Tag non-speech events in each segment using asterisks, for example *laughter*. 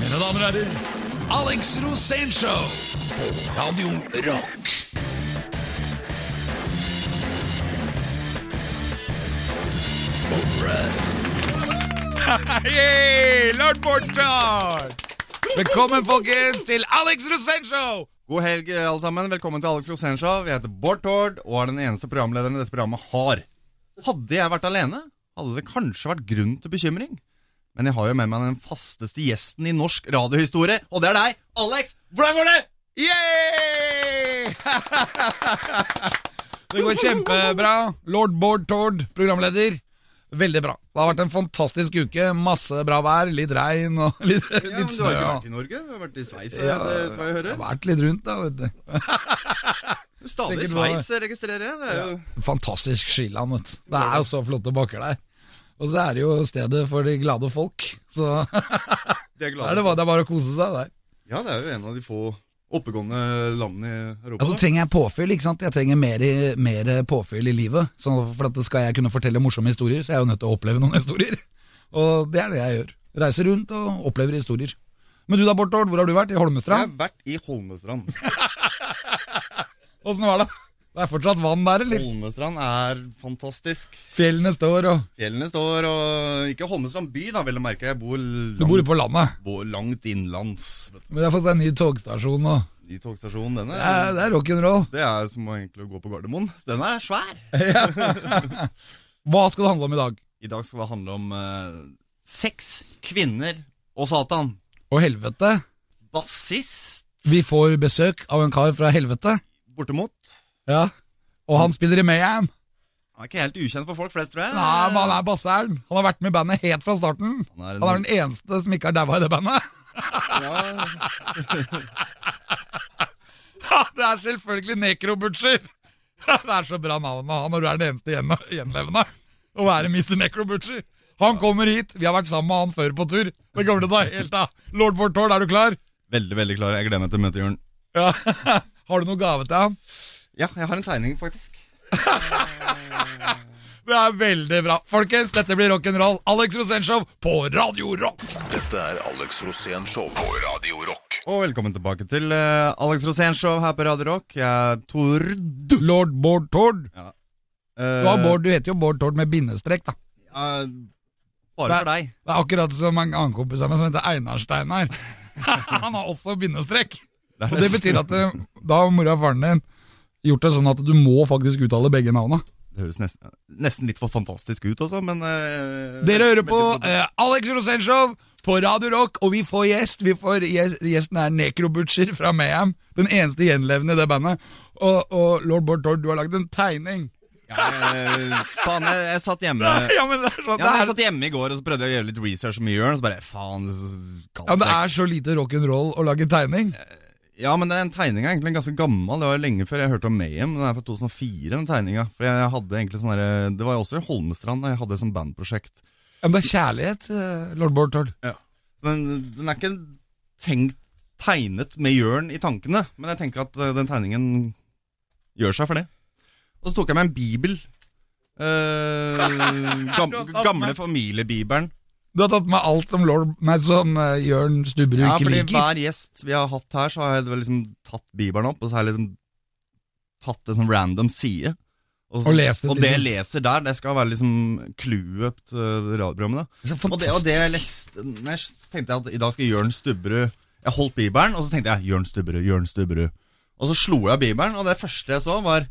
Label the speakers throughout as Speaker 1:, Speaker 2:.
Speaker 1: Mine damer og herrer, Alex Rosénshow på Radio Rock.
Speaker 2: Hei, Lord Bortfjord! Velkommen, folkens, til Alex Rosenshov! God helg, alle sammen. Velkommen til Alex Rosenshov. Jeg heter Bård Tord og er den eneste programlederen dette programmet har. Hadde jeg vært alene, hadde det kanskje vært grunn til bekymring. Men jeg har jo med meg den fasteste gjesten i norsk radiohistorie, og det er deg, Alex. Hvordan går det?
Speaker 3: *laughs* Det går kjempebra. Lord Bård Tord, programleder. Veldig bra. Det har vært en fantastisk uke. Masse bra vær, litt regn og *laughs* litt,
Speaker 2: Ja, men
Speaker 3: litt
Speaker 2: du har
Speaker 3: snø.
Speaker 2: ikke
Speaker 3: og-
Speaker 2: vært i Norge, du har vært i Sveits.
Speaker 3: Ja,
Speaker 2: det tror jeg jeg
Speaker 3: Jeg
Speaker 2: hører.
Speaker 3: har vært litt rundt, da. vet du
Speaker 2: Stadig i
Speaker 3: Sikkert var-
Speaker 2: Sveits, registrerer jeg. Det er jo...
Speaker 3: Fantastisk skiland. vet du Det er jo så flotte bakker der. Og så er det jo stedet for de glade folk. Så *laughs*
Speaker 2: De er
Speaker 3: da
Speaker 2: glade
Speaker 3: er det, bare, det er bare å kose seg der.
Speaker 2: Ja, det er jo en av de få oppegående landene i Europa.
Speaker 3: Ja, så
Speaker 2: da.
Speaker 3: trenger jeg påfyll, ikke sant? Jeg trenger mer, i- mer påfyll i livet. Så for at det skal jeg kunne fortelle morsomme historier, så er jeg jo nødt til å oppleve noen *laughs* historier. Og det er det jeg gjør. Reiser rundt og opplever historier. Men du da, Bård Tord, hvor har du vært? I
Speaker 2: Jeg har
Speaker 3: Holmestrand?
Speaker 2: vært i Holmestrand.
Speaker 3: Åssen var det? Det er fortsatt vann der, eller?
Speaker 2: Holmestrand er fantastisk.
Speaker 3: Fjellene står, og
Speaker 2: Fjellene står og Ikke Holmestrand by, da, vel å merke. Jeg bor langt,
Speaker 3: du bor jo på landet.
Speaker 2: bor langt innlands. Vet du.
Speaker 3: Men jeg har fått en ny togstasjon, og
Speaker 2: I togstasjonen, denne.
Speaker 3: det er, det er rock'n'roll.
Speaker 2: Det er som å egentlig gå på Gardermoen. Den er svær.
Speaker 3: Hva skal det handle om i dag?
Speaker 2: I dag skal det handle om eh, sex, kvinner og Satan.
Speaker 3: Og helvete.
Speaker 2: Bassist
Speaker 3: Vi får besøk av en kar fra helvete.
Speaker 2: bortimot.
Speaker 3: Ja. Og han spiller i Mayhem.
Speaker 2: Han er ikke helt ukjent for folk flest, tror jeg.
Speaker 3: Nei, men han er basseren. Han har vært med i bandet helt fra starten.
Speaker 2: Han er en-
Speaker 3: Han er den eneste som ikke har daua i det bandet. *laughs*
Speaker 2: Ja.
Speaker 3: det er selvfølgelig Necrobutcher. *laughs* Det er så bra navn å ha når du er den eneste igjen, gjenlevende. Å være Mr. Necrobutcher. Han kommer hit. Vi har vært sammen med han før på tur. Det kommer til å ta helt av. Lord Bård Tord, er du klar?
Speaker 2: Veldig, veldig klar. Jeg gleder meg til å møte Jørn.
Speaker 3: Ja. *laughs* Har du noen gave til han?
Speaker 2: Ja, jeg har en tegning, faktisk.
Speaker 3: Det er veldig bra. Folkens, dette blir rock'n'roll. Alex Rosenshov på Radio Rock.
Speaker 1: Dette er Alex Rosén Show på Radio Rock.
Speaker 2: Og velkommen tilbake til eh, Alex Rosén Show her på Radio Rock. Jeg er Tord.
Speaker 3: Lord Bård Tord.
Speaker 2: Eh,
Speaker 3: Du, har Bård, du heter jo Bård Tord med bindestrek, da.
Speaker 2: eh, bare for deg.
Speaker 3: Det er akkurat som en annen kompis av meg som heter Einar Steinar. *laughs* Han har også bindestrek. Og det betyr at eh, da har mora og faren din gjort det sånn at du må faktisk uttale begge navna.
Speaker 2: Det høres nesten, nesten litt for fantastisk ut, altså, men eh,
Speaker 3: Dere hører på
Speaker 2: veldig-
Speaker 3: eh, Alex Rosenshov på Radio Rock, og vi får gjest. Vi får gjest gjesten er Necrobutcher fra Mayhem. Den eneste gjenlevende i det bandet. Og, og lord Bård Tord, du har lagd en tegning.
Speaker 2: Ja, eh, Faen, jeg, jeg satt hjemme
Speaker 3: *laughs* Ja, men det er sånn
Speaker 2: Eh, ja, men Jeg
Speaker 3: det er,
Speaker 2: satt hjemme i går og så prøvde jeg å gjøre litt research med Jørn, og så bare faen så galt
Speaker 3: ja, men det
Speaker 2: jeg-
Speaker 3: er så lite rock'n'roll å lage tegning.
Speaker 2: Ja, men den tegninga er egentlig ganske gammel. Det var lenge før jeg hørte om Mayhem. Den er fra 2004, den tegninga. For jeg hadde egentlig sånn derre Det var jo også i Holmestrand jeg hadde som bandprosjekt.
Speaker 3: Ja, men det er kjærlighet, eh, lord Bård Tord.
Speaker 2: Men den er ikke tenkt tegnet med Jørn i tankene. Men jeg tenker at eh, den tegningen gjør seg for det. Og så tok jeg med en bibel.
Speaker 3: *laughs*
Speaker 2: Eh, gam, gamle familiebibelen.
Speaker 3: Du har tatt med alt som, Lord, nei, som eh, Jørn Stubberud
Speaker 2: Ja,
Speaker 3: ikke
Speaker 2: fordi
Speaker 3: liker.
Speaker 2: hver gjest vi har hatt her, så har jeg liksom tatt bibelen opp, og så har jeg liksom tatt en sånn random side. så-
Speaker 3: Og lest det,
Speaker 2: og det jeg
Speaker 3: liksom.
Speaker 2: leser der, det skal være liksom clouet til radioprogrammet. da.
Speaker 3: Så
Speaker 2: Og det, og det jeg leste nei, tenkte jeg at i dag skal Jørn Stubberud Jeg holdt bibelen, og så tenkte jeg Jørn Stubberud, Jørn Stubberud. Og så slo jeg bibelen, og det første jeg så, var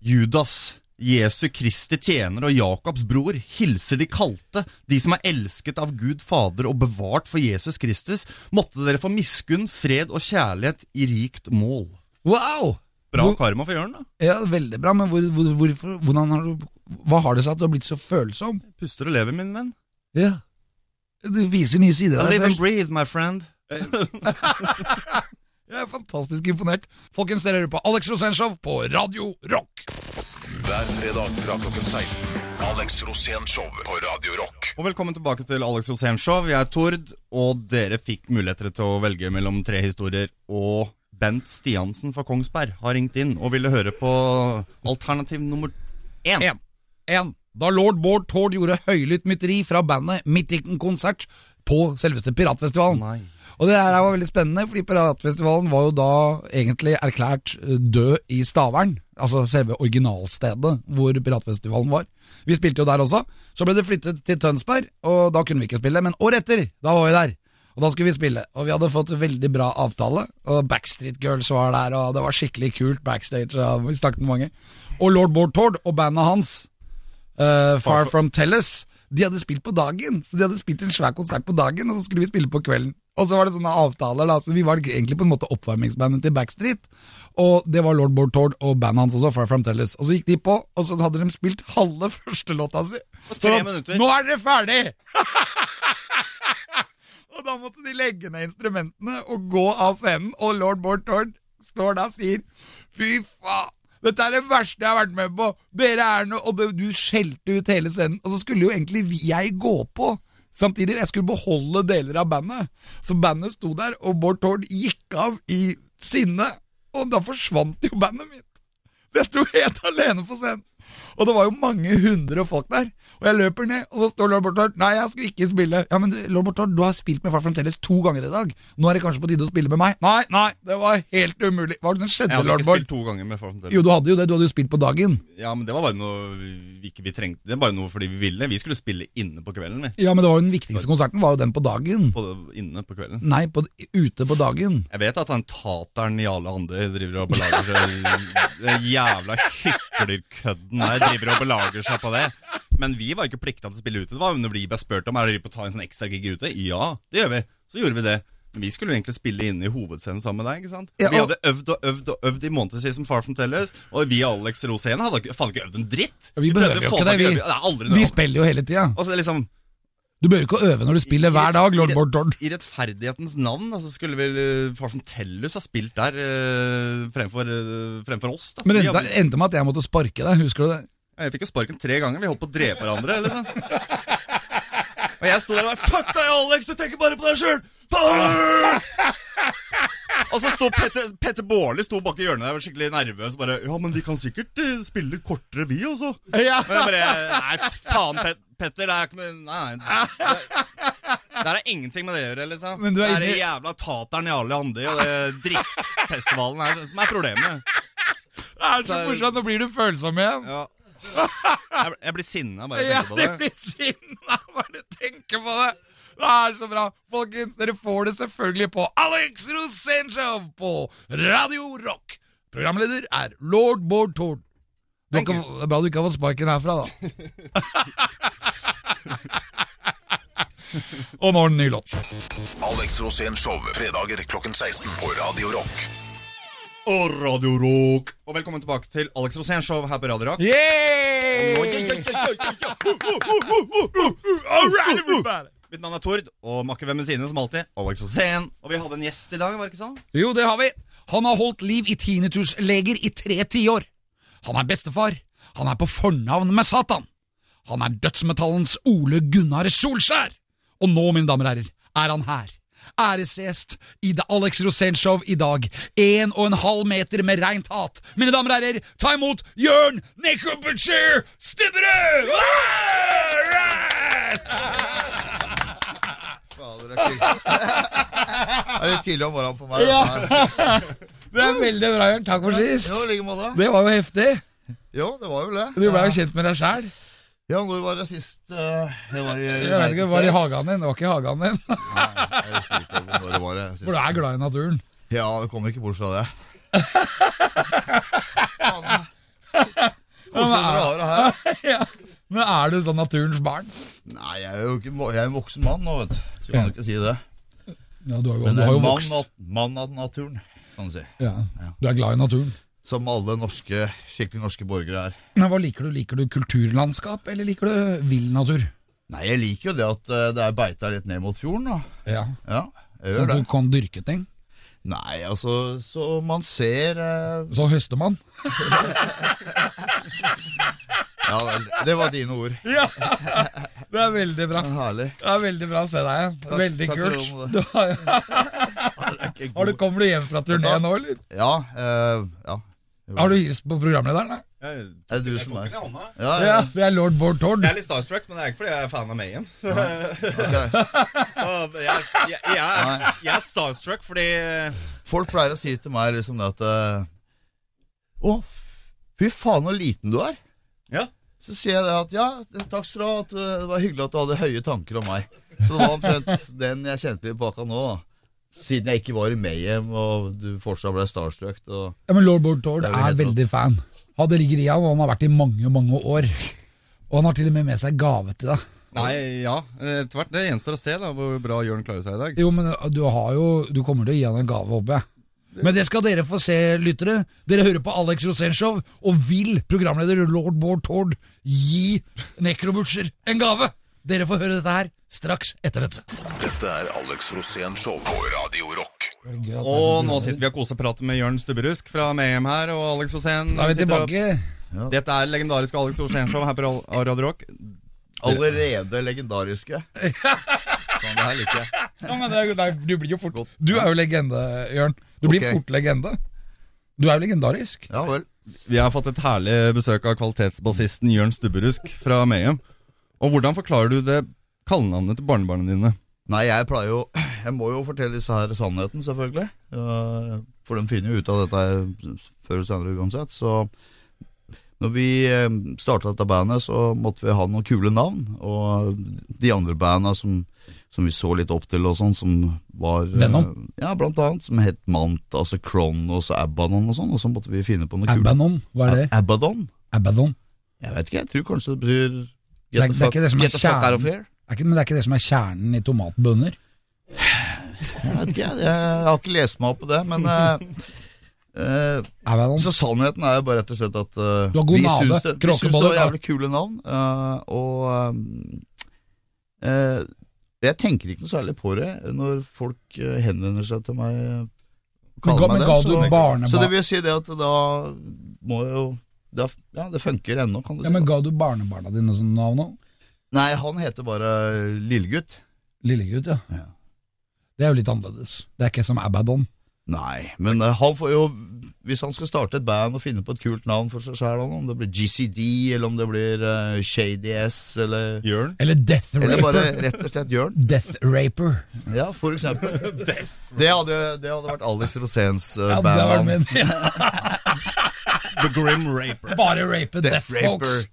Speaker 2: Judas, Jesu Kristi tjener og Jakobs bror, hilser de kalte, de som er elsket av Gud Fader og bevart for Jesus Kristus. Måtte dere få miskunn, fred og kjærlighet i rikt mål.
Speaker 3: Wow!
Speaker 2: Bra
Speaker 3: Hvor-
Speaker 2: karma for Jørn, da.
Speaker 3: Ja, veldig bra, men hvor, hvor, hvorfor, hvordan har du, hva har det seg at du har blitt så følsom?
Speaker 2: Puster og lever, min venn.
Speaker 3: Ja. Du viser nye sider av deg
Speaker 2: Live and
Speaker 3: selv.
Speaker 2: breathe, my friend.
Speaker 3: Jeg er fantastisk imponert. Folkens, dere hører på Alex Rosenshov på Radio Rock.
Speaker 1: Hver fredag fra klokken 16. Alex Rosén Show på Radio Rock.
Speaker 2: Og velkommen tilbake til Alex Rosén Show. Jeg er Tord, og dere fikk muligheter til å velge mellom tre historier. Og Bent Stiansen fra Kongsberg har ringt inn og ville høre på alternativ nummer én.
Speaker 3: En. En. Da Lord Bård Tord gjorde høylytt mytteri fra bandet midt i en konsert på selveste Piratfestivalen.
Speaker 2: Nei.
Speaker 3: Og det her var veldig spennende, fordi Piratfestivalen var jo da egentlig erklært eh, død i Stavern. Altså selve originalstedet hvor Piratfestivalen var. Vi spilte jo der også. Så ble det flyttet til Tønsberg, og da kunne vi ikke spille. Men året etter, da var vi der. Og da skulle vi spille, og vi hadde fått veldig bra avtale. Og Backstreet Girls var der, og det var skikkelig kult backstage. Og vi snakket med mange. Og lord Bård Tord og bandet hans Eh, Far From Tellus. De hadde spilt på dagen, så de hadde spilt en svær konsert på dagen, og så skulle vi spille på kvelden. Og så var det sånne avtaler, da, så vi var egentlig på en måte oppvarmingsbandet til Backstreet. Og det var lord Bård Tord og bandet hans også, Far From Tellus. Og så gikk de på, og så hadde de spilt halve *laughs* første låta si.
Speaker 2: tre
Speaker 3: Så da-
Speaker 2: minutter.
Speaker 3: Nå er dere ferdig! og da måtte de legge ned instrumentene og gå av scenen, og lord Bård Tord står da og sier Fy faen, dette er det verste jeg har vært med på. Dere er noe Og det, du skjelte ut hele scenen. Og så skulle jo egentlig vi- jeg gå på. Samtidig, jeg skulle beholde deler av bandet. Så bandet sto der, og Bård Tord gikk av i sinne. Og da forsvant jo bandet mitt. Så Jeg sto helt alene på scenen. Og det var jo mange hundre folk der. Og jeg løper ned, og så står Lord Bortard Nei, jeg skulle ikke spille. Ja, men du, Lord Bortard, du har spilt med Far fremdeles to ganger i dag. Nå er det kanskje på tide å spille med meg. Nei, nei, det var helt umulig. Hva var det som
Speaker 2: Jeg
Speaker 3: skjedde,
Speaker 2: hadde
Speaker 3: Lord
Speaker 2: ikke spilt
Speaker 3: Bård?
Speaker 2: to ganger med Farfan
Speaker 3: Jo, du hadde jo det. Du hadde jo spilt på dagen.
Speaker 2: Ja, men det var bare noe vi ikke vi trengte. Det var bare noe fordi vi ville. Vi skulle spille inne på kvelden, vi.
Speaker 3: Ja, men det var jo den viktigste konserten var jo den på dagen.
Speaker 2: På, inne på kvelden.
Speaker 3: Nei, på, ute på dagen.
Speaker 2: Jeg vet at han tateren Jarle Hande driver og belager seg *laughs* Den jævla hyklerkødden der driver og belager seg på det. Men vi var ikke plikta til å spille ute. Det var når vi ble spurt om Er dere på å ta en sånn ekstra gig ute. Ja, det gjør vi. Så gjorde vi det. Men vi skulle jo egentlig spille inne i hovedscenen sammen med deg. ikke sant?
Speaker 3: Ja,
Speaker 2: Vi
Speaker 3: og-
Speaker 2: hadde øvd og øvd og øvd i måneder som Far From Tellers. Og vi og Alex Rosén hadde ikke, faen ikke øvd en dritt.
Speaker 3: Ja, vi behøver
Speaker 2: prøvde
Speaker 3: jo
Speaker 2: å få
Speaker 3: ikke det,
Speaker 2: tak i
Speaker 3: vi.
Speaker 2: øving. Det er aldri
Speaker 3: Vi
Speaker 2: noe.
Speaker 3: spiller jo hele tida.
Speaker 2: Og så liksom
Speaker 3: Du behøver ikke å øve når du spiller hver dag, lord Bortard.
Speaker 2: I rettferdighetens navn altså, skulle vel eh, Far som Tellus ha spilt der eh, fremfor, eh, fremfor oss. Da.
Speaker 3: Men det
Speaker 2: Vi
Speaker 3: endte,
Speaker 2: hadde-
Speaker 3: endte med at jeg måtte sparke deg, husker du det?
Speaker 2: jeg fikk jo sparken tre ganger. Vi holdt på å drepe hverandre. liksom Og jeg sto der og var Fuck deg, Alex! Du tenker bare på deg sjøl! Og så sto Petter, Petter Baarli sto bak i hjørnet der og var skikkelig nervøs. Bare, ja, men vi kan sikkert eh, spille kortere, vi også.
Speaker 3: *laughs* Ja.
Speaker 2: Men jeg bare Nei, faen, Pet Petter. Det er ikke med Nei. nei. Det der er ingenting med det å gjøre, liksom.
Speaker 3: Men du er
Speaker 2: det er det
Speaker 3: inni-
Speaker 2: jævla tateren Jarle Handi og det drittfestivalen her som er problemet.
Speaker 4: Det er så morsomt, nå blir du følsom igjen.
Speaker 2: Ja. Jeg, jeg blir sinna bare
Speaker 4: Ja,
Speaker 2: jeg
Speaker 4: det
Speaker 2: tenker på det.
Speaker 4: blir sinna bare du tenker på det. Det er så bra. Folkens, dere får det selvfølgelig på Alex Rosenshov på Radio Rock. Programleder er lord Bård Tord. Du har ikke, det er bra du ikke har fått sparken herfra, da. Og nå en ny låt.
Speaker 1: Alex Rosén Show fredager klokken 16 på Radio Rock.
Speaker 2: Og Radio Rock. Og velkommen tilbake til Alex Rosén Show her på Radio Rock. Mitt navn er Tord, og makker ved min side som alltid. Alex Rosén. Og vi hadde en gjest i dag, var det ikke sånn?
Speaker 3: Jo, det har vi. Han har holdt liv i tinnitusleger i tre tiår. Han er bestefar. Han er på fornavn med Satan. Han er dødsmetallens Ole Gunnar Solskjær. Og nå, mine damer og herrer, er han her. Æresgjest i The Alex Rosén-show i dag. En og en halv meter med reint hat. Mine damer og herrer, ta imot Jørn Necrobucher Stubberud!
Speaker 5: Fader, det er
Speaker 3: *laughs*
Speaker 5: kult. Det er litt tidlig om morgenen på meg.
Speaker 3: Ja.
Speaker 5: dette her.
Speaker 3: Det er veldig bra, Jørn. Takk for
Speaker 5: Jo, i like måte.
Speaker 3: Det var jo heftig.
Speaker 5: Jo, det var jo det.
Speaker 3: Du ble jo kjent med deg sjæl.
Speaker 5: Ja, når var det sist? eh, Jeg var i
Speaker 3: Jeg vet ikke, var det i hagen din? Det var ikke i hagen din.
Speaker 5: Jeg husker ikke når det var det
Speaker 3: *laughs*
Speaker 5: sist.
Speaker 3: For du er glad i naturen.
Speaker 5: Ja, du kommer ikke bort fra
Speaker 3: *laughs*
Speaker 5: det.
Speaker 3: Ja,
Speaker 5: Hvordan dere
Speaker 3: men,
Speaker 5: har det her?
Speaker 3: er, *laughs* ja. men er du sånn naturens barn?
Speaker 5: Nei, jeg er jo ikke jeg er en voksen mann nå, vet du. Så kan du ikke si det.
Speaker 3: Ja, du, har jo,
Speaker 5: Men
Speaker 3: du
Speaker 5: jeg
Speaker 3: har
Speaker 5: er
Speaker 3: jo
Speaker 5: mann,
Speaker 3: vokst.
Speaker 5: av- mann av naturen, kan du si.
Speaker 3: Ja. Du er glad i naturen.
Speaker 5: Som alle norske, skikkelig norske borgere er.
Speaker 3: Men hva liker du? Liker du kulturlandskap, eller liker du vill natur?
Speaker 5: Nei, jeg liker jo det at eh, det er beita litt ned mot fjorden, da.
Speaker 3: Ja.
Speaker 5: Ja, jeg
Speaker 3: Sånn
Speaker 5: gjør det.
Speaker 3: at du kan dyrke ting.
Speaker 5: Nei, altså, så man ser eh,
Speaker 3: Så høster man.
Speaker 5: Ja vel, det var dine ord.
Speaker 3: *laughs* Ja! Det er veldig bra.
Speaker 5: Herlig.
Speaker 3: Det er veldig bra å se deg.
Speaker 5: Takk-
Speaker 3: veldig
Speaker 5: takk i
Speaker 3: kult.
Speaker 5: like måte.
Speaker 3: Du har, har du, kommer du hjem fra turneen nå, eller?
Speaker 5: Ja. eh, ja.
Speaker 3: Har du hilst på programlederen? da?
Speaker 2: Jeg,
Speaker 5: Er det du
Speaker 2: jeg
Speaker 5: som
Speaker 2: tok
Speaker 5: er
Speaker 2: den i hånda.
Speaker 5: Ja, ja.
Speaker 3: Ja, det er lord Bård Tord.
Speaker 2: Jeg er litt starstruck, men det er ikke fordi jeg er fan av
Speaker 3: *laughs*
Speaker 2: Mayhem.
Speaker 5: ok.
Speaker 2: Så jeg, jeg, jeg, er, jeg er starstruck fordi
Speaker 5: Folk pleier å si til meg liksom det at eh, Å, fy faen så liten du er.
Speaker 2: Ja.
Speaker 5: Så sier jeg det at ja, takk skal du ha, at du- det var hyggelig at du hadde høye tanker om meg. Så det var omtrent den jeg kjente litt på akkurat nå, da. Siden jeg ikke var i Mayhem, og du fortsatt ble starstruck. Og...
Speaker 3: Ja, men Lord Bård Tord
Speaker 5: Det er
Speaker 3: er,
Speaker 5: vel helt
Speaker 3: veldig fan. Han det ligger i ham, og han har vært i mange, mange år. Og han har til og med med seg gave til deg.
Speaker 2: Nei, ja. Etter hvert. Det gjenstår å se da hvor bra Jørn klarer seg i dag.
Speaker 3: Jo, men øh, du har jo Du kommer til å gi han en gave, håper jeg. Men det skal dere få se, lyttere. Dere hører på Alex Rosénshow, og vil programleder lord Bård Tord gi Nekrobutcher en gave? Dere får høre dette her straks etter dette.
Speaker 1: Dette er Alex Rosén Show på Radio Rock.
Speaker 2: Og nå sitter vi og koseprater med Jørn Stubberusk fra Mayhem her, og Alex Rosén.
Speaker 3: Da er vi
Speaker 2: sitter og-
Speaker 3: tilbake.
Speaker 2: Dette er legendariske Alex Rosén-show her på Ra- Radio Rock.
Speaker 5: Allerede legendariske. Sånn, det her liker jeg.
Speaker 3: Ja, men det, er- nei, du blir jo fort Du er jo legende, Jørn. Du blir
Speaker 5: Ok.
Speaker 3: fort legende. Du er jo legendarisk.
Speaker 5: Ja vel.
Speaker 2: Vi har fått et herlig besøk av kvalitetsbassisten Jørn Stubberusk fra Mayhem. Og hvordan forklarer du det kallenavnet til barnebarna dine?
Speaker 5: Nei, jeg pleier jo Jeg må jo fortelle disse her sannheten, selvfølgelig. Eh, For de finner jo ut av dette her før eller senere uansett. Så når vi starta dette bandet, så måtte vi ha noen kule navn. Og de andre banda som, som vi så litt opp til og sånn, som var eh,
Speaker 3: Venom?
Speaker 5: Ja, blant annet. Som het Mant, altså Kronos og Abaddon og sånn. Og så måtte vi finne på noe kult.
Speaker 3: Abaddon, hva er det?
Speaker 5: Abaddon?
Speaker 3: Abaddon.
Speaker 5: Jeg vet ikke, jeg tror kanskje det betyr
Speaker 3: Det er-
Speaker 5: Get
Speaker 3: det
Speaker 5: the
Speaker 3: er
Speaker 5: fuck,
Speaker 3: ikke det som er
Speaker 5: get the fuck out of
Speaker 3: kjernen.
Speaker 5: here.
Speaker 3: Er ikke, men det er ikke det som er kjernen i tomatbønner?
Speaker 5: Jeg vet ikke, jeg, jeg har ikke lest meg opp på det, men eh, eh,
Speaker 3: Abaddon.
Speaker 5: Så sannheten er jo bare rett og slett at eh,
Speaker 3: Du har god
Speaker 5: vi
Speaker 3: nave,
Speaker 5: syns det, vi syns det
Speaker 3: kråkeboller,
Speaker 5: var
Speaker 3: ja.
Speaker 5: jævlig kule navn, eh, og eh, eh, jeg tenker ikke noe særlig på det når folk eh, henvender seg til meg. eh,
Speaker 3: Men
Speaker 5: kaller
Speaker 3: ga, men
Speaker 5: meg
Speaker 3: ga du
Speaker 5: det, så-
Speaker 3: barnebarn
Speaker 5: Så det vil si det at da må jo da, Ja, det funker ennå, kan du
Speaker 3: ja,
Speaker 5: si.
Speaker 3: men ga du barnebarna dine sånn navn òg?
Speaker 5: Nei, han heter bare Lillegutt.
Speaker 3: Lillegutt, ja.
Speaker 5: Ja.
Speaker 3: Det er jo litt annerledes. Det er ikke som Abaddon.
Speaker 5: Nei, men eh, han får jo Hvis han skal starte et band og finne på et kult navn for seg sjæl, om det blir GCD, eller om det blir eh, Shady S, eller
Speaker 2: Jørn?
Speaker 3: Eller Death Raper.
Speaker 5: Eller bare rett og slett Jørn.
Speaker 3: Death Raper.
Speaker 5: Ja, for
Speaker 3: *laughs*
Speaker 5: eksempel. Det hadde, det hadde vært Alex Roséns uh,
Speaker 3: Ja, det var
Speaker 5: bandnavn.
Speaker 3: min.
Speaker 2: The Grim Raper.
Speaker 3: Bare rape Death,
Speaker 5: Death Raper.
Speaker 3: Folks.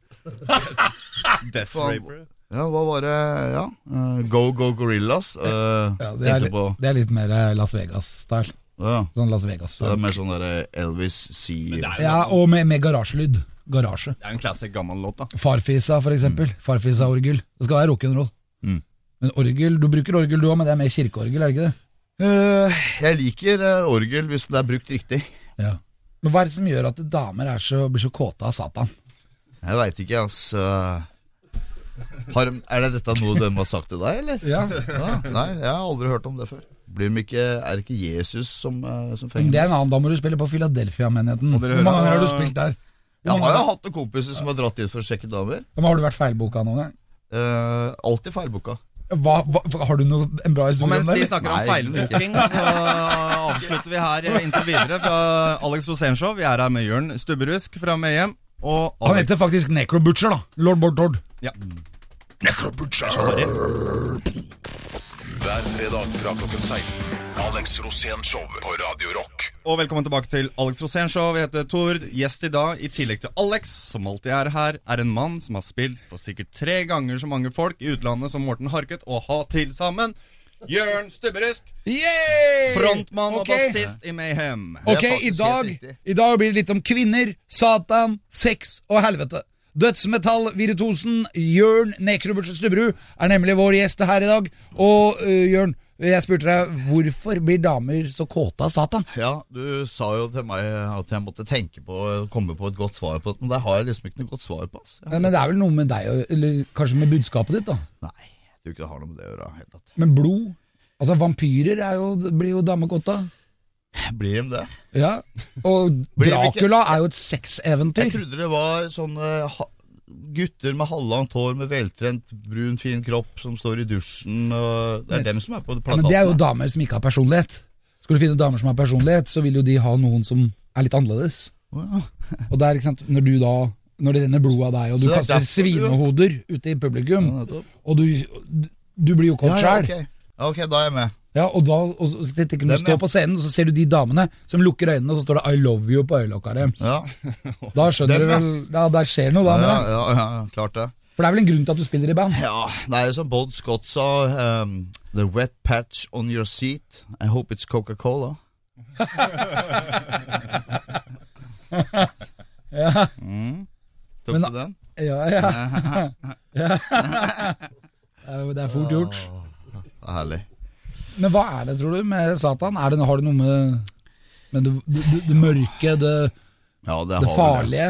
Speaker 2: Death
Speaker 5: Faen.
Speaker 2: Raper.
Speaker 5: Ja, hva var det Ja. eh, Go Go Gorillas. Uh,
Speaker 3: Ja, det, er,
Speaker 5: tenkte på
Speaker 3: litt- det er litt mer eh, Las Vegas-style.
Speaker 5: ja.
Speaker 3: Sånn Las vegas
Speaker 5: Så det er mer sånn derre Elvis C.
Speaker 2: Det er jo
Speaker 3: Ja, og med, med garasjelyd. Garasje.
Speaker 2: det er en classic gammel låt, da.
Speaker 3: Farfisa, for
Speaker 2: Mm.
Speaker 3: eksempel. Farfisa-orgel. Det skal være rock'n'roll. Men orgel, du bruker orgel du òg, men det er mer kirkeorgel, er det ikke det?
Speaker 5: Eh, jeg liker eh, orgel hvis det er brukt riktig.
Speaker 3: Ja. Men hva er det som gjør at damer er så, blir så kåte av Satan?
Speaker 5: Jeg veit ikke, altså. Har, de- er det dette noe de har sagt til deg, eller?
Speaker 3: Ja,
Speaker 5: Ja, nei, jeg har aldri hørt om det før. Blir de ikke, er det ikke Jesus som, eh, som
Speaker 3: men
Speaker 5: fenger
Speaker 3: Det er en
Speaker 5: mest?
Speaker 3: annen, da må du spille på Philadelphia-menigheten.
Speaker 2: Og
Speaker 3: Hvor
Speaker 2: dere
Speaker 3: mange
Speaker 2: hører-
Speaker 3: ganger har du spilt der? Hvor
Speaker 5: Jeg
Speaker 3: mange
Speaker 5: har jo
Speaker 3: ganger-
Speaker 5: hatt noen kompiser som har dratt dit for å sjekke damer.
Speaker 3: Men Har du vært feilboka noen gang?
Speaker 5: Uh, alltid feilboka.
Speaker 3: Hva, hva, har du noe, en bra
Speaker 2: Og
Speaker 3: historie om
Speaker 2: mens
Speaker 3: det?
Speaker 2: de
Speaker 3: eller?
Speaker 2: snakker om
Speaker 5: Nei,
Speaker 2: feilbooking, så avslutter vi her inntil videre fra Alex Rosénshow. Vi er her med Jørn Stubberusk fra Mayhem. Og
Speaker 3: Han heter
Speaker 2: Alex
Speaker 3: faktisk Necrobutcher, da. Lord Bård Tord.
Speaker 1: Hver fredag fra klokken 16. Alex Rosén Show på Radio Rock.
Speaker 2: Og velkommen tilbake til Alex Rosénshow. Vi heter Tor. Gjest i dag, i tillegg til Alex, som alltid er her, er en mann som har spilt for sikkert tre ganger så mange folk i utlandet som Morten Harket og ha til sammen. Jørn Stubberusk,
Speaker 3: Yay!
Speaker 2: frontmann og
Speaker 3: Ok.
Speaker 2: bassist i Mayhem.
Speaker 5: er
Speaker 3: Ok, i
Speaker 5: faktisk
Speaker 3: dag,
Speaker 5: helt riktig.
Speaker 3: i dag blir det litt om kvinner, Satan, sex og helvete. Dødsmetallvirtuosen Jørn Nekrobertsen Stubberud er nemlig vår gjest her i dag. Og øh, Jørn, jeg spurte deg hvorfor blir damer så kåte av Satan?
Speaker 5: Ja, du sa jo til meg at jeg måtte tenke på å komme på et godt svar på det, men det har jeg liksom ikke noe godt svar på. Altså.
Speaker 3: Nei, Men det er vel noe med deg, og- eller kanskje med budskapet ditt, da.
Speaker 5: Nei, jeg tror ikke det har noe med det å gjøre. Helt tatt.
Speaker 3: Men blod Altså, vampyrer er jo, blir jo damer kåte av.
Speaker 5: Blir de det?
Speaker 3: Ja. Og
Speaker 5: Blir det ikke-
Speaker 3: Dracula er jo et
Speaker 5: Jeg
Speaker 3: sexeventyr.
Speaker 5: trodde det var sånne ha gutter med halvlangt hår, med veltrent, brun, fin kropp, som står i dusjen, og det er dem som er på
Speaker 3: Ja,
Speaker 5: plakaten.
Speaker 3: men det er jo
Speaker 5: da.
Speaker 3: damer som ikke har personlighet. Skal du finne damer som har personlighet, så vil jo de ha noen som er litt annerledes.
Speaker 5: Å,
Speaker 3: Og der, ikke sant, når du da Når det renner blod av deg, og du
Speaker 5: Så det er
Speaker 3: kaster
Speaker 5: derfor du-
Speaker 3: svinehoder ute i
Speaker 5: ja,
Speaker 3: publikum,
Speaker 5: nettopp.
Speaker 3: og du, du blir jo kåt
Speaker 5: Ja, ja,
Speaker 3: sjæl.
Speaker 5: ok. Ja, ok, da er jeg med.
Speaker 3: Ja, og da og så, så tenker jeg, når
Speaker 5: Den,
Speaker 3: du står
Speaker 5: ja.
Speaker 3: på scenen, så ser du de damene som lukker øynene, og så står det 'I love you' på øyelokka deres.
Speaker 5: Ja,
Speaker 3: Da skjønner
Speaker 5: Den,
Speaker 3: du vel Ja, der skjer noe, da.
Speaker 5: ja,
Speaker 3: med
Speaker 5: ja,
Speaker 3: deg.
Speaker 5: ja, ja klart det.
Speaker 3: For det er vel en grunn til at du spiller i band.
Speaker 5: Ja, det er jo som Bod Scott sa ehm, The wet patch on your seat I hope it's Coca-Cola
Speaker 3: *laughs* Ja,
Speaker 5: Mm. Tok
Speaker 3: Men-
Speaker 5: du den?
Speaker 3: ja, ja. *laughs* ja. *laughs* Det er jo- Det er fort gjort.
Speaker 5: Det er herlig
Speaker 3: Men hva er det, tror du, med Satan? Er det, har det noe med, med det, det, det, det mørke, det,
Speaker 5: Ja, det,
Speaker 3: det
Speaker 5: har vi det.
Speaker 3: farlige?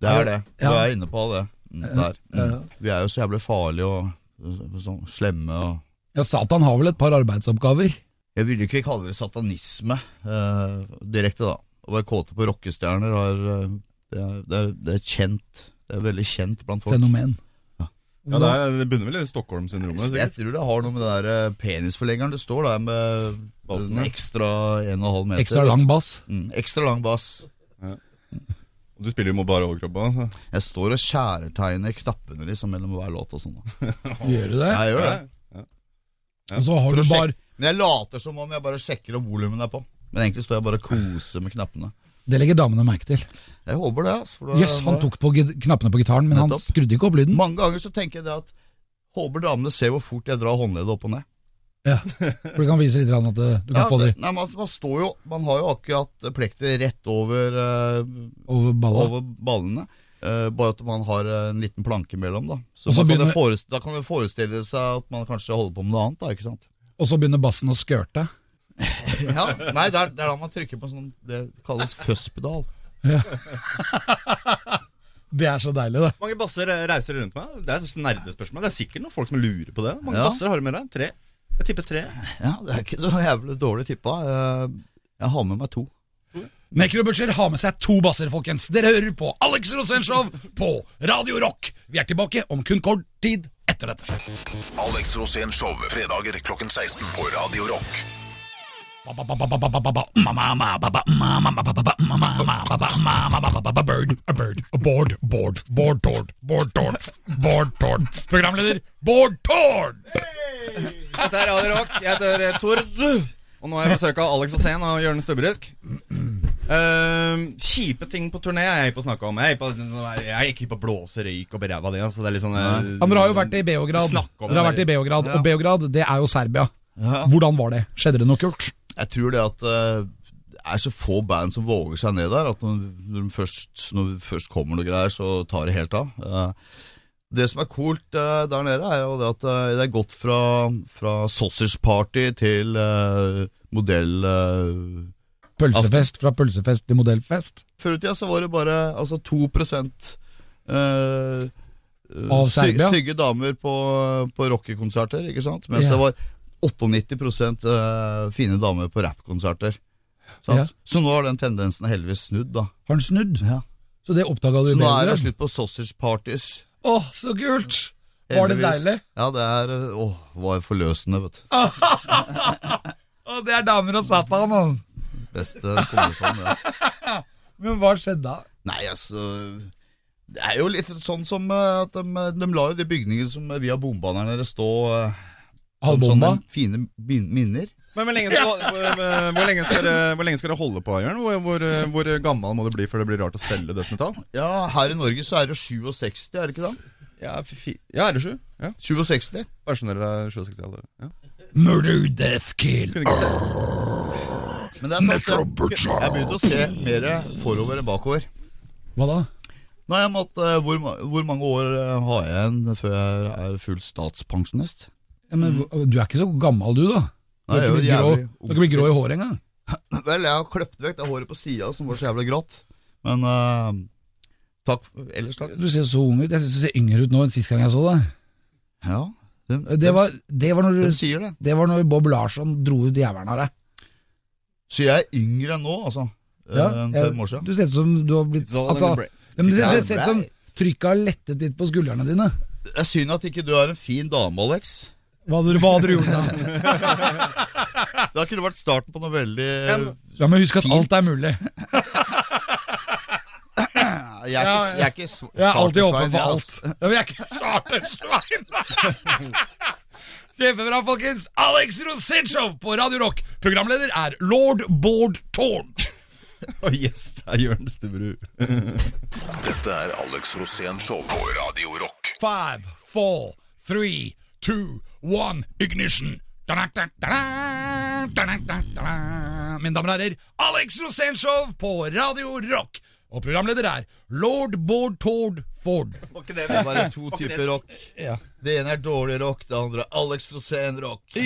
Speaker 5: Det er det, du
Speaker 3: Ja.
Speaker 5: er inne på det Mm, der. Mm. Vi er jo så jævlig farlige og øh, sånn slemme og
Speaker 3: Ja, Satan har vel et par arbeidsoppgaver.
Speaker 5: Jeg ville ikke kalle det satanisme eh, direkte, da. Å være kåte på rockestjerner har, eh, det, er, det, er, det er kjent. Det er veldig kjent blant folk.
Speaker 3: Fenomen.
Speaker 5: Ja.
Speaker 2: Ja, det, er, det begynner vel i Stockholm-syndromet.
Speaker 5: Jeg
Speaker 2: sikkert.
Speaker 5: tror det har noe med det der eh, penisforlengeren. Det står der med
Speaker 2: Basen,
Speaker 5: en
Speaker 2: ja.
Speaker 5: ekstra 1,5 meter.
Speaker 3: Ekstra lang bass.
Speaker 5: Mm, ekstra lang bass.
Speaker 2: Du spiller jo med bare overkroppa. Så.
Speaker 5: Jeg står og skjæretegner knappene liksom mellom hver låt og sånn. da.
Speaker 3: Gjør du det?
Speaker 5: Jeg gjør det.
Speaker 2: ja.
Speaker 3: Og så har
Speaker 5: For
Speaker 3: du
Speaker 5: å
Speaker 3: bare
Speaker 5: Men jeg later som om jeg bare sjekker om volumen er på. Men egentlig står jeg bare og koser med knappene.
Speaker 3: Det legger damene merke til.
Speaker 5: Jeg håper det. altså. for
Speaker 3: Jøss,
Speaker 5: det-
Speaker 3: yes, han tok på git- knappene på gitaren, men han
Speaker 5: Nettopp.
Speaker 3: skrudde ikke opp lyden.
Speaker 5: Mange ganger så tenker jeg det at håper damene ser hvor fort jeg drar håndleddet opp og ned.
Speaker 3: Ja. For du kan vise litt grann at eh, du kan
Speaker 5: Ja,
Speaker 3: få det
Speaker 5: det- Nei, man, man står jo Man har jo akkurat plekteret rett over, eh,
Speaker 3: over balla.
Speaker 5: over ballene. eh, bare at man har eh, en liten planke mellom, da. Så,
Speaker 3: Og så
Speaker 5: man kan
Speaker 3: begynner-
Speaker 5: det forest- da kan man forestille seg at man kanskje holder på med noe annet, da. Ikke
Speaker 3: *laughs*
Speaker 5: sant?
Speaker 3: Og så begynner bassen å skørte.
Speaker 5: Ja, Nei, det er, det er da man trykker på sånn Det kalles føsspedal.
Speaker 3: Det er så deilig, det.
Speaker 2: Mange basser eh, reiser rundt meg. Det er sånn nerdespørsmål. Det er sikkert noen folk som lurer på det. Mange
Speaker 5: Ja.
Speaker 2: basser har du med deg? Tre? Jeg tipper tre.
Speaker 5: Ja, det er ikke så jævlig dårlig tippa. Eh, jeg har med meg to.
Speaker 3: Nekrobutcher har med seg to basser, folkens. Dere hører på Alex Rosenshov på Radio Rock. Vi er tilbake om kun kort tid etter dette.
Speaker 1: Alex Rosén Show fredager klokken 16 på Radio Rock.
Speaker 3: Bird, a bird, a board, board, board, tord, board, tord, board, tord. Programleder Bård Tord!
Speaker 6: Dette er Radio Rock. Jeg heter eh, Tord. Og nå har jeg besøk av Alex Osen og Jørn Stubberusk. Ehm, kjipe ting på turné er jeg på å snakke om. Jeg er, på, jeg er ikke på å blåse røyk og beræva det. Altså, det er litt sånn eh,
Speaker 3: Ja, men dere har jo vært i Beograd.
Speaker 2: Snakk om
Speaker 3: Dere har
Speaker 2: det.
Speaker 3: vært i Beograd, og Beograd det er jo Serbia. Hvordan var det? Skjedde det noe kult?
Speaker 5: Jeg tror det at eh, det er så få band som våger seg ned der, at når når de først, når det først kommer noe greier, så tar det helt av. Eh, Det som er coolt eh, der nede, er jo det at eh, det er gått fra, fra sausage party til eh, modell eh.
Speaker 2: Altså-
Speaker 3: Pølsefest fra pølsefest til modellfest?
Speaker 5: Før i tida så var det bare altså 2 eh,
Speaker 3: Av
Speaker 5: sty-
Speaker 3: Serbia?
Speaker 5: Stygge damer på, på rockekonserter, ikke sant? Mens
Speaker 3: Ja.
Speaker 5: det var 98 eh, fine damer på rappkonserter. sant?
Speaker 3: Ja.
Speaker 5: Så nå har den tendensen heldigvis snudd, da.
Speaker 3: Har den snudd?
Speaker 5: Ja.
Speaker 3: Så det oppdaga du
Speaker 5: Så
Speaker 3: i
Speaker 5: nå er det
Speaker 3: Beograd?
Speaker 5: slutt på sausage parties.
Speaker 3: Å, så kult! Var det
Speaker 5: heldigvis.
Speaker 3: deilig?
Speaker 5: Ja, det er eh, Åh, var forløsende, vet du.
Speaker 3: Å, det er damer og satan, mann!
Speaker 5: Beste kombinasjonen, det.
Speaker 3: Men hva skjedde da?
Speaker 5: Nei, altså Det er jo litt sånn som eh, at de, de lar jo de bygningene som eh, vi har bomba der nede, stå eh, som
Speaker 3: Halvbomba?
Speaker 5: sånne fine bin- minner.
Speaker 2: Men hvor lenge, skal, hvor, hvor, lenge skal, dere- hvor lenge skal dere holde på, Jørn? Hvor, hvor, hvor gammel må du bli før det blir rart å spille dødsmetall?
Speaker 5: Ja, her i Norge så er det 67, er det ikke det?
Speaker 2: Ja, fi- fi- ja er det sju? Ja.
Speaker 5: 67?
Speaker 2: Bare sånn dere er 67 alder. Ja.
Speaker 3: Murder, death, kill.
Speaker 2: Kunne ikke det.
Speaker 5: Men det er sant, jeg, jeg begynte å se mer forover enn bakover.
Speaker 3: Hva da?
Speaker 5: Nei, jeg måtte, eh, hvor, ma- hvor mange år eh, har jeg igjen før jeg er full statspensjonist?
Speaker 3: Ja, men, hva- du er ikke så gammel, du, da. Du
Speaker 5: Nei,
Speaker 3: er
Speaker 5: jeg er jo
Speaker 3: ikke blitt grå, du
Speaker 5: jævlig
Speaker 3: er ikke blitt grå i
Speaker 5: ung.
Speaker 3: håret engang.
Speaker 5: *laughs* Vel, jeg har kløpt vekk det håret på sida som var så jævlig grått. Men eh, takk ellers, takk.
Speaker 3: Du ser så ung ut. Jeg syns du ser yngre ut nå enn sist gang jeg så deg.
Speaker 5: Ja, dem-
Speaker 3: Det
Speaker 5: dem-
Speaker 3: var, det var,
Speaker 5: dem
Speaker 3: når,
Speaker 5: sier det.
Speaker 3: det var når Bob Larsson dro ut jævelen av deg.
Speaker 5: Så jeg er yngre enn nå, altså. eh, Enn fem år siden.
Speaker 3: Du ser ut som du har blitt
Speaker 2: It's all in
Speaker 3: altså,
Speaker 2: the brain.
Speaker 3: ja, men Det ser-
Speaker 5: It's
Speaker 3: ser
Speaker 5: all
Speaker 3: ut som
Speaker 5: right.
Speaker 3: trykket har lettet litt på skuldrene dine.
Speaker 5: Det er synd at ikke du er en fin dame, Alex.
Speaker 3: Hva hadde, du- hva hadde du gjort *laughs* da?
Speaker 5: Det kunne vært starten på noe veldig
Speaker 3: Ja, men husk at alt er mulig.
Speaker 5: jeg er ikke, jeg er ikke sv-
Speaker 3: Jeg er alltid
Speaker 5: chartersvein,
Speaker 3: åpen for
Speaker 5: jeg,
Speaker 3: alt.
Speaker 5: altså.
Speaker 3: Ja, men jeg er ikke *laughs* chartersvein! *laughs* Kjempebra, folkens. Alex Rosenshov på Radio Rock. Programleder er lord Bård Tord.
Speaker 7: Og gjest er Jørn Stubberud.
Speaker 1: Dette er Alex Rosén Show på Radio Rock.
Speaker 3: Five, four, three, two, one, ignition. Da-da-da-da-da, da-da-da-da-da. Mine damer og herrer, Alex Rosenshov på Radio Rock. Og programleder er lord Bård Tord Ford.
Speaker 5: Det er bare to typer rock.
Speaker 8: Ja.
Speaker 5: Det ene er dårlig rock, det andre er Alex Rosén-rock.
Speaker 8: *laughs*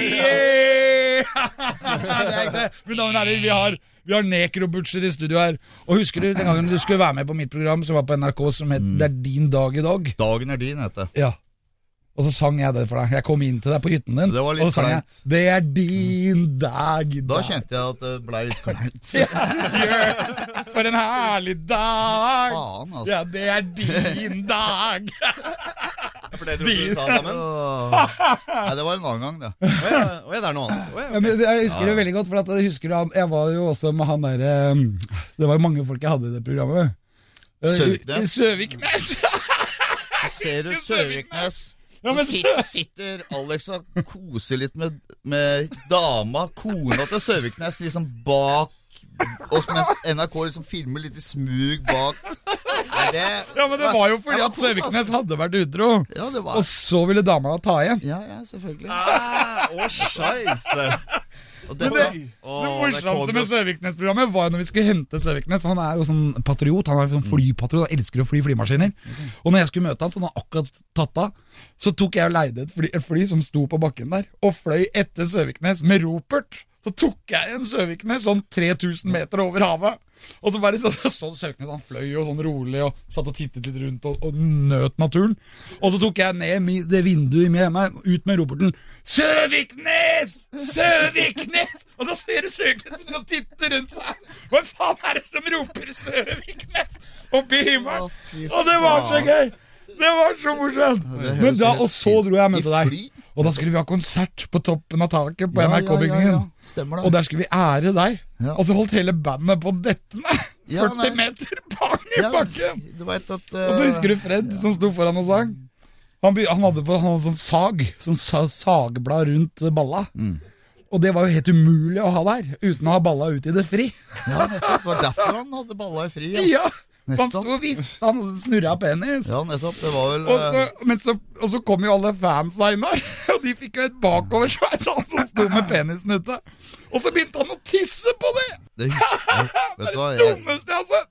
Speaker 3: Yeah! det er ikke det. Mine damer og herrer, vi har, vi har nekrobutcher i studio her. Og husker du den gangen du skulle være med på mitt program som var på NRK som het
Speaker 5: Mm.
Speaker 3: 'Det er din dag i dag'?
Speaker 5: Dagen er din, heter det.
Speaker 8: Ja. Og så sang jeg det for deg. Jeg kom inn til deg på hytten din,
Speaker 5: Det var litt
Speaker 8: og så sang jeg
Speaker 5: kleint.
Speaker 8: 'Det er din dag i
Speaker 5: Da
Speaker 8: dag'.
Speaker 5: kjente jeg at det ble
Speaker 3: *laughs*
Speaker 5: litt kleint.
Speaker 3: For en herlig dag!
Speaker 5: Faen, altså.
Speaker 3: Ja, det er
Speaker 5: *laughs*
Speaker 3: din dag!
Speaker 2: For det tror jeg du sa
Speaker 3: *laughs*
Speaker 2: sammen.
Speaker 5: Åh. Nei, det var en annen gang, det.
Speaker 2: Å ja, å ja, det er noe annet. Å ja,
Speaker 8: Ja, men jeg husker det veldig godt, for at jeg husker han, jeg var jo også med han derre Det var jo mange folk jeg hadde i det programmet.
Speaker 5: Søviknes.
Speaker 8: I- i Søviknes.
Speaker 5: Ser du Søviknes?
Speaker 3: Ja, men-
Speaker 5: Så sitter, sitter Alex og koser litt med, med dama, kona til Søviknes, liksom bak oss, mens NRK liksom filmer litt i smug bak. Nei, det,
Speaker 3: Ja, men det var jo fordi
Speaker 5: Ja, men
Speaker 3: at
Speaker 5: kos, altså.
Speaker 3: Søviknes hadde vært utro.
Speaker 5: Ja, det var
Speaker 8: Og så ville dama ta igjen.
Speaker 5: Ja, ja, selvfølgelig.
Speaker 2: Ah, Å, scheisse.
Speaker 5: Og det,
Speaker 3: det-
Speaker 5: Åh,
Speaker 3: Det
Speaker 5: kom
Speaker 3: morsomste
Speaker 5: jo-
Speaker 3: med Søviknes-programmet var jo når vi skulle hente Søviknes. for Han er jo sånn patriot. Han er
Speaker 5: Mm.
Speaker 3: sånn flypatriot, han elsker å fly flymaskiner. Og når jeg skulle møte han, så hadde han akkurat tatt av, så tok jeg og leide et fly, et fly som sto på bakken der, og fløy etter Søviknes med ropert. Så tok jeg en Søviknes sånn 3000 meter over havet. Og så bare så, sånn- *laughs* så Søviknes han fløy jo sånn rolig og satt og tittet litt rundt og, og nøt naturen. Og så tok jeg ned mi, det vinduet i meg hjemme, ut med roperten 'Søviknes! Søviknes!' Og så ser du Søviknes begynne å titte rundt seg. Hva faen er det som roper 'Søviknes' oppi himmelen? Og det var så gøy! Det var så morsomt!
Speaker 5: det
Speaker 3: Men
Speaker 5: høres
Speaker 3: da,
Speaker 5: helt
Speaker 3: Og så dro jeg med
Speaker 5: I
Speaker 3: til deg.
Speaker 5: fly?
Speaker 3: Og da skulle vi ha konsert på toppen av taket på
Speaker 5: Ja, ja,
Speaker 3: NRK-bygningen.
Speaker 5: ja, ja. Stemmer det.
Speaker 3: Og der skulle vi ære deg.
Speaker 5: Ja.
Speaker 3: Og så holdt hele bandet på dettende.
Speaker 5: Ja,
Speaker 3: 40
Speaker 5: nei.
Speaker 3: meter bang i
Speaker 5: Ja,
Speaker 3: bakken!
Speaker 5: Du vet at
Speaker 3: Og så husker du Fred som sto foran og sang. Han, by- han hadde på han hadde sånn sag, sånn sa, sagblad rundt eh, balla.
Speaker 5: Mm.
Speaker 3: Og det var jo helt umulig å ha der, uten å ha balla ut i det fri.
Speaker 5: Ja, nettopp. eh, Det var derfor han hadde balla i fri. Ja,
Speaker 3: Ja, Han
Speaker 5: Nettopp.
Speaker 3: sto og vifta, han hadde snurra penis.
Speaker 5: ja nettopp. Det var vel
Speaker 3: Og så,
Speaker 5: eh,
Speaker 3: men så, og så kom jo alle fansa inn der, *laughs* og de fikk jo et bakoversveis, han som sto med penisen ute. Og så begynte han å tisse på det!
Speaker 5: det, husker-
Speaker 3: *laughs*
Speaker 5: Vet du hva? Jeg,
Speaker 3: Dummeste, altså!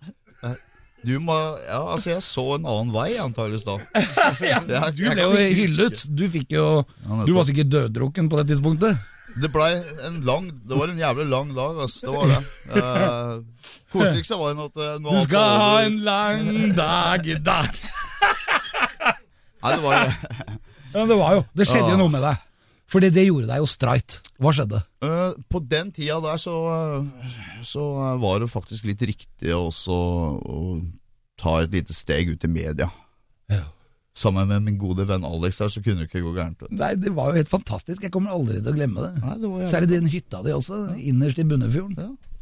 Speaker 5: du må Ja, altså, jeg så en annen vei, antakeligvis da. Jeg-
Speaker 3: Du
Speaker 5: jeg
Speaker 3: ble
Speaker 5: kan
Speaker 3: jo
Speaker 5: ikke
Speaker 3: hyllet.
Speaker 5: huske.
Speaker 3: Du fikk jo
Speaker 5: nettopp.
Speaker 3: Du var sikkert døddrukken på det tidspunktet.
Speaker 5: Det blei en lang Det var en jævlig lang dag, altså. Det var det. Uh, Koseligste var jo at eh, nå
Speaker 3: Du
Speaker 5: alt
Speaker 3: skal
Speaker 5: var
Speaker 3: ha
Speaker 5: over.
Speaker 3: en lang dag i dag.
Speaker 5: Nei, det var det.
Speaker 3: Ja, det var jo Det skjedde jo noe med deg. Fordi det gjorde deg jo streit. Hva skjedde?
Speaker 5: Eh, på den tida der så, eh, så eh, var det faktisk litt riktig også å ta et lite steg ut i media. Sammen med min gode venn Alex her, så kunne det ikke gå gærent. vet du.
Speaker 8: Nei, det var jo helt fantastisk. Jeg kommer aldri til å glemme det.
Speaker 5: Nei, det var jævlig.
Speaker 8: Særlig den hytta di også, innerst i Bunnefjorden.
Speaker 5: Ja.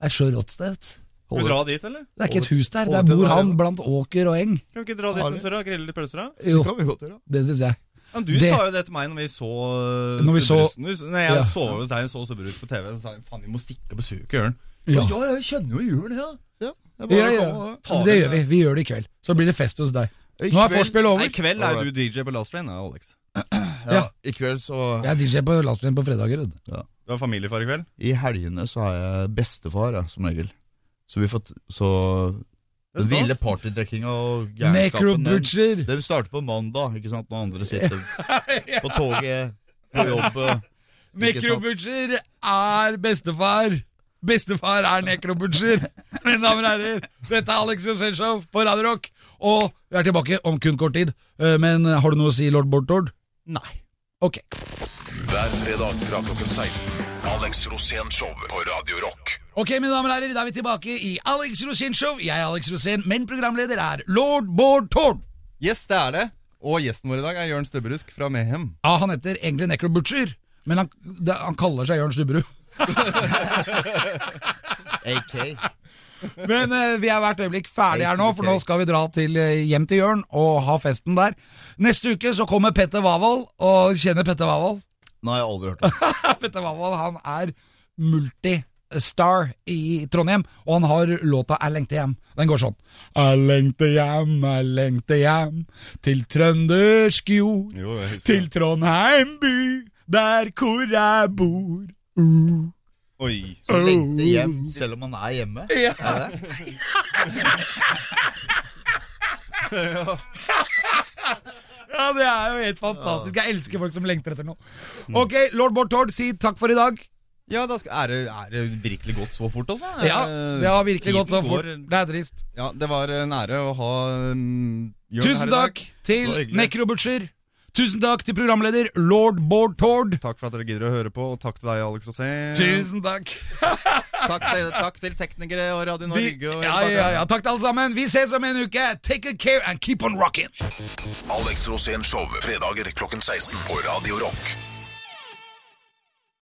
Speaker 8: Det er så rått sted. vet du.
Speaker 2: Skal vi dra dit, eller?
Speaker 8: Det er ikke et hus der. Der
Speaker 5: Over til
Speaker 8: bor han
Speaker 5: der, ja.
Speaker 8: blant åker og eng.
Speaker 2: Kan vi ikke dra dit en tur og grille litt pølser, da?
Speaker 8: Jo,
Speaker 5: kan vi godt gjøre.
Speaker 8: det syns jeg.
Speaker 2: Men du
Speaker 8: Det-
Speaker 2: sa jo det til meg når vi så uh,
Speaker 8: Når vi så-
Speaker 2: Stubberudsen. Du s- Når jeg
Speaker 8: Ja.
Speaker 2: så hos deg og så Stubberus på TV, så sa jeg faen, vi må stikke og besøke Jørn.
Speaker 8: Ja.
Speaker 2: ja, jeg kjenner jo Jørn, ja.
Speaker 5: Ja, det er bare
Speaker 8: Ja,
Speaker 5: å
Speaker 8: ja.
Speaker 5: komme og ta
Speaker 8: Det
Speaker 5: det.
Speaker 8: gjør vi. Vi gjør det i kveld. Så blir det fest hos deg.
Speaker 5: I
Speaker 8: Nå er
Speaker 5: kveld-
Speaker 8: vorspiel
Speaker 2: Nei, I
Speaker 8: over.
Speaker 2: kveld er du DJ på Last Train, ja, Alex.
Speaker 5: Ja, I kveld så eh,
Speaker 8: Jeg er DJ på landsbyen på fredager. Rudd.
Speaker 2: Du har familiefar i kveld?
Speaker 5: I helgene så er jeg bestefar, jeg, som regel. Så vi får t Så
Speaker 2: Det er
Speaker 5: den
Speaker 2: stas.
Speaker 5: ville partydrekkinga og gærenskapen den-
Speaker 8: Necrobutcher!
Speaker 5: Det starter på mandag, ikke sant? Når andre sitter
Speaker 2: *laughs*
Speaker 5: på toget, på jobb ikke sant?
Speaker 3: Nekrobutcher er bestefar. Bestefar er nekrobutcher. Mine damer og herrer, dette er Alex Josenshov på Radio Rock. Og
Speaker 8: Vi er tilbake om kun kort tid. Eh, Men har du noe å si, lord Bård Tord?
Speaker 2: Nei.
Speaker 8: Ok.
Speaker 1: Hver fredag fra klokken 16. Alex Rosén Show på Radio Rock.
Speaker 8: Ok, mine damer og herrer, da er vi tilbake i Alex Rosén Show. Jeg er Alex Rosén, men programleder er lord Bård Tord.
Speaker 2: Yes, det er det. Og gjesten vår i dag er Jørn Stubberusk fra Mehem.
Speaker 8: Ja, han heter egentlig Necrobutcher, men han, det, han kaller seg Jørn Stubberud.
Speaker 5: AK.
Speaker 3: Men eh, vi er hvert øyeblikk ferdig her nå, for nå skal vi dra til eh, hjem til Jørn og ha festen der. Neste uke så kommer Petter Wavold, og kjenner Petter Wavold? *laughs*
Speaker 5: Nei, jeg har aldri hørt det.
Speaker 3: Petter Wavold han er multistar i Trondheim, og han har låta 'Jeg lengter hjem'. Den går sånn. Jeg lengter hjem, jeg lengter hjem, til trøndersk jord, til Trondheim by, der hvor jeg bor. Uh.
Speaker 9: Oi.
Speaker 5: Så lengter hjem, selv om man er hjemme.
Speaker 3: Ja, det er jo helt fantastisk. Jeg elsker folk som lengter etter noe. Ok, lord Bård Tord, si takk for i dag.
Speaker 2: Ja, da skal, er, det, er det virkelig gått så fort, altså? Er
Speaker 3: Ja,
Speaker 2: det-
Speaker 3: det har virkelig gått så
Speaker 2: tiden
Speaker 3: fort.
Speaker 2: går-
Speaker 3: Det er trist.
Speaker 2: Ja, det var en ære å ha mm, Jørn her
Speaker 3: Tusen
Speaker 2: i dag.
Speaker 3: takk til
Speaker 5: Det var hyggelig.
Speaker 3: Nekro Butcher. Tusen takk til programleder lord Bård Tord.
Speaker 2: Takk for at dere gidder å høre på, og takk til deg, Alex Rosén.
Speaker 3: Tusen takk.
Speaker 2: Takk, til- takk til teknikere og Radio
Speaker 3: Vi,
Speaker 2: Norge. og-
Speaker 3: ja, ja, ja, takk til alle sammen. Vi ses om en uke. Take good care and keep on rocking.
Speaker 1: Alex Rosén Show. Fredager klokken 16 på Radio Rock.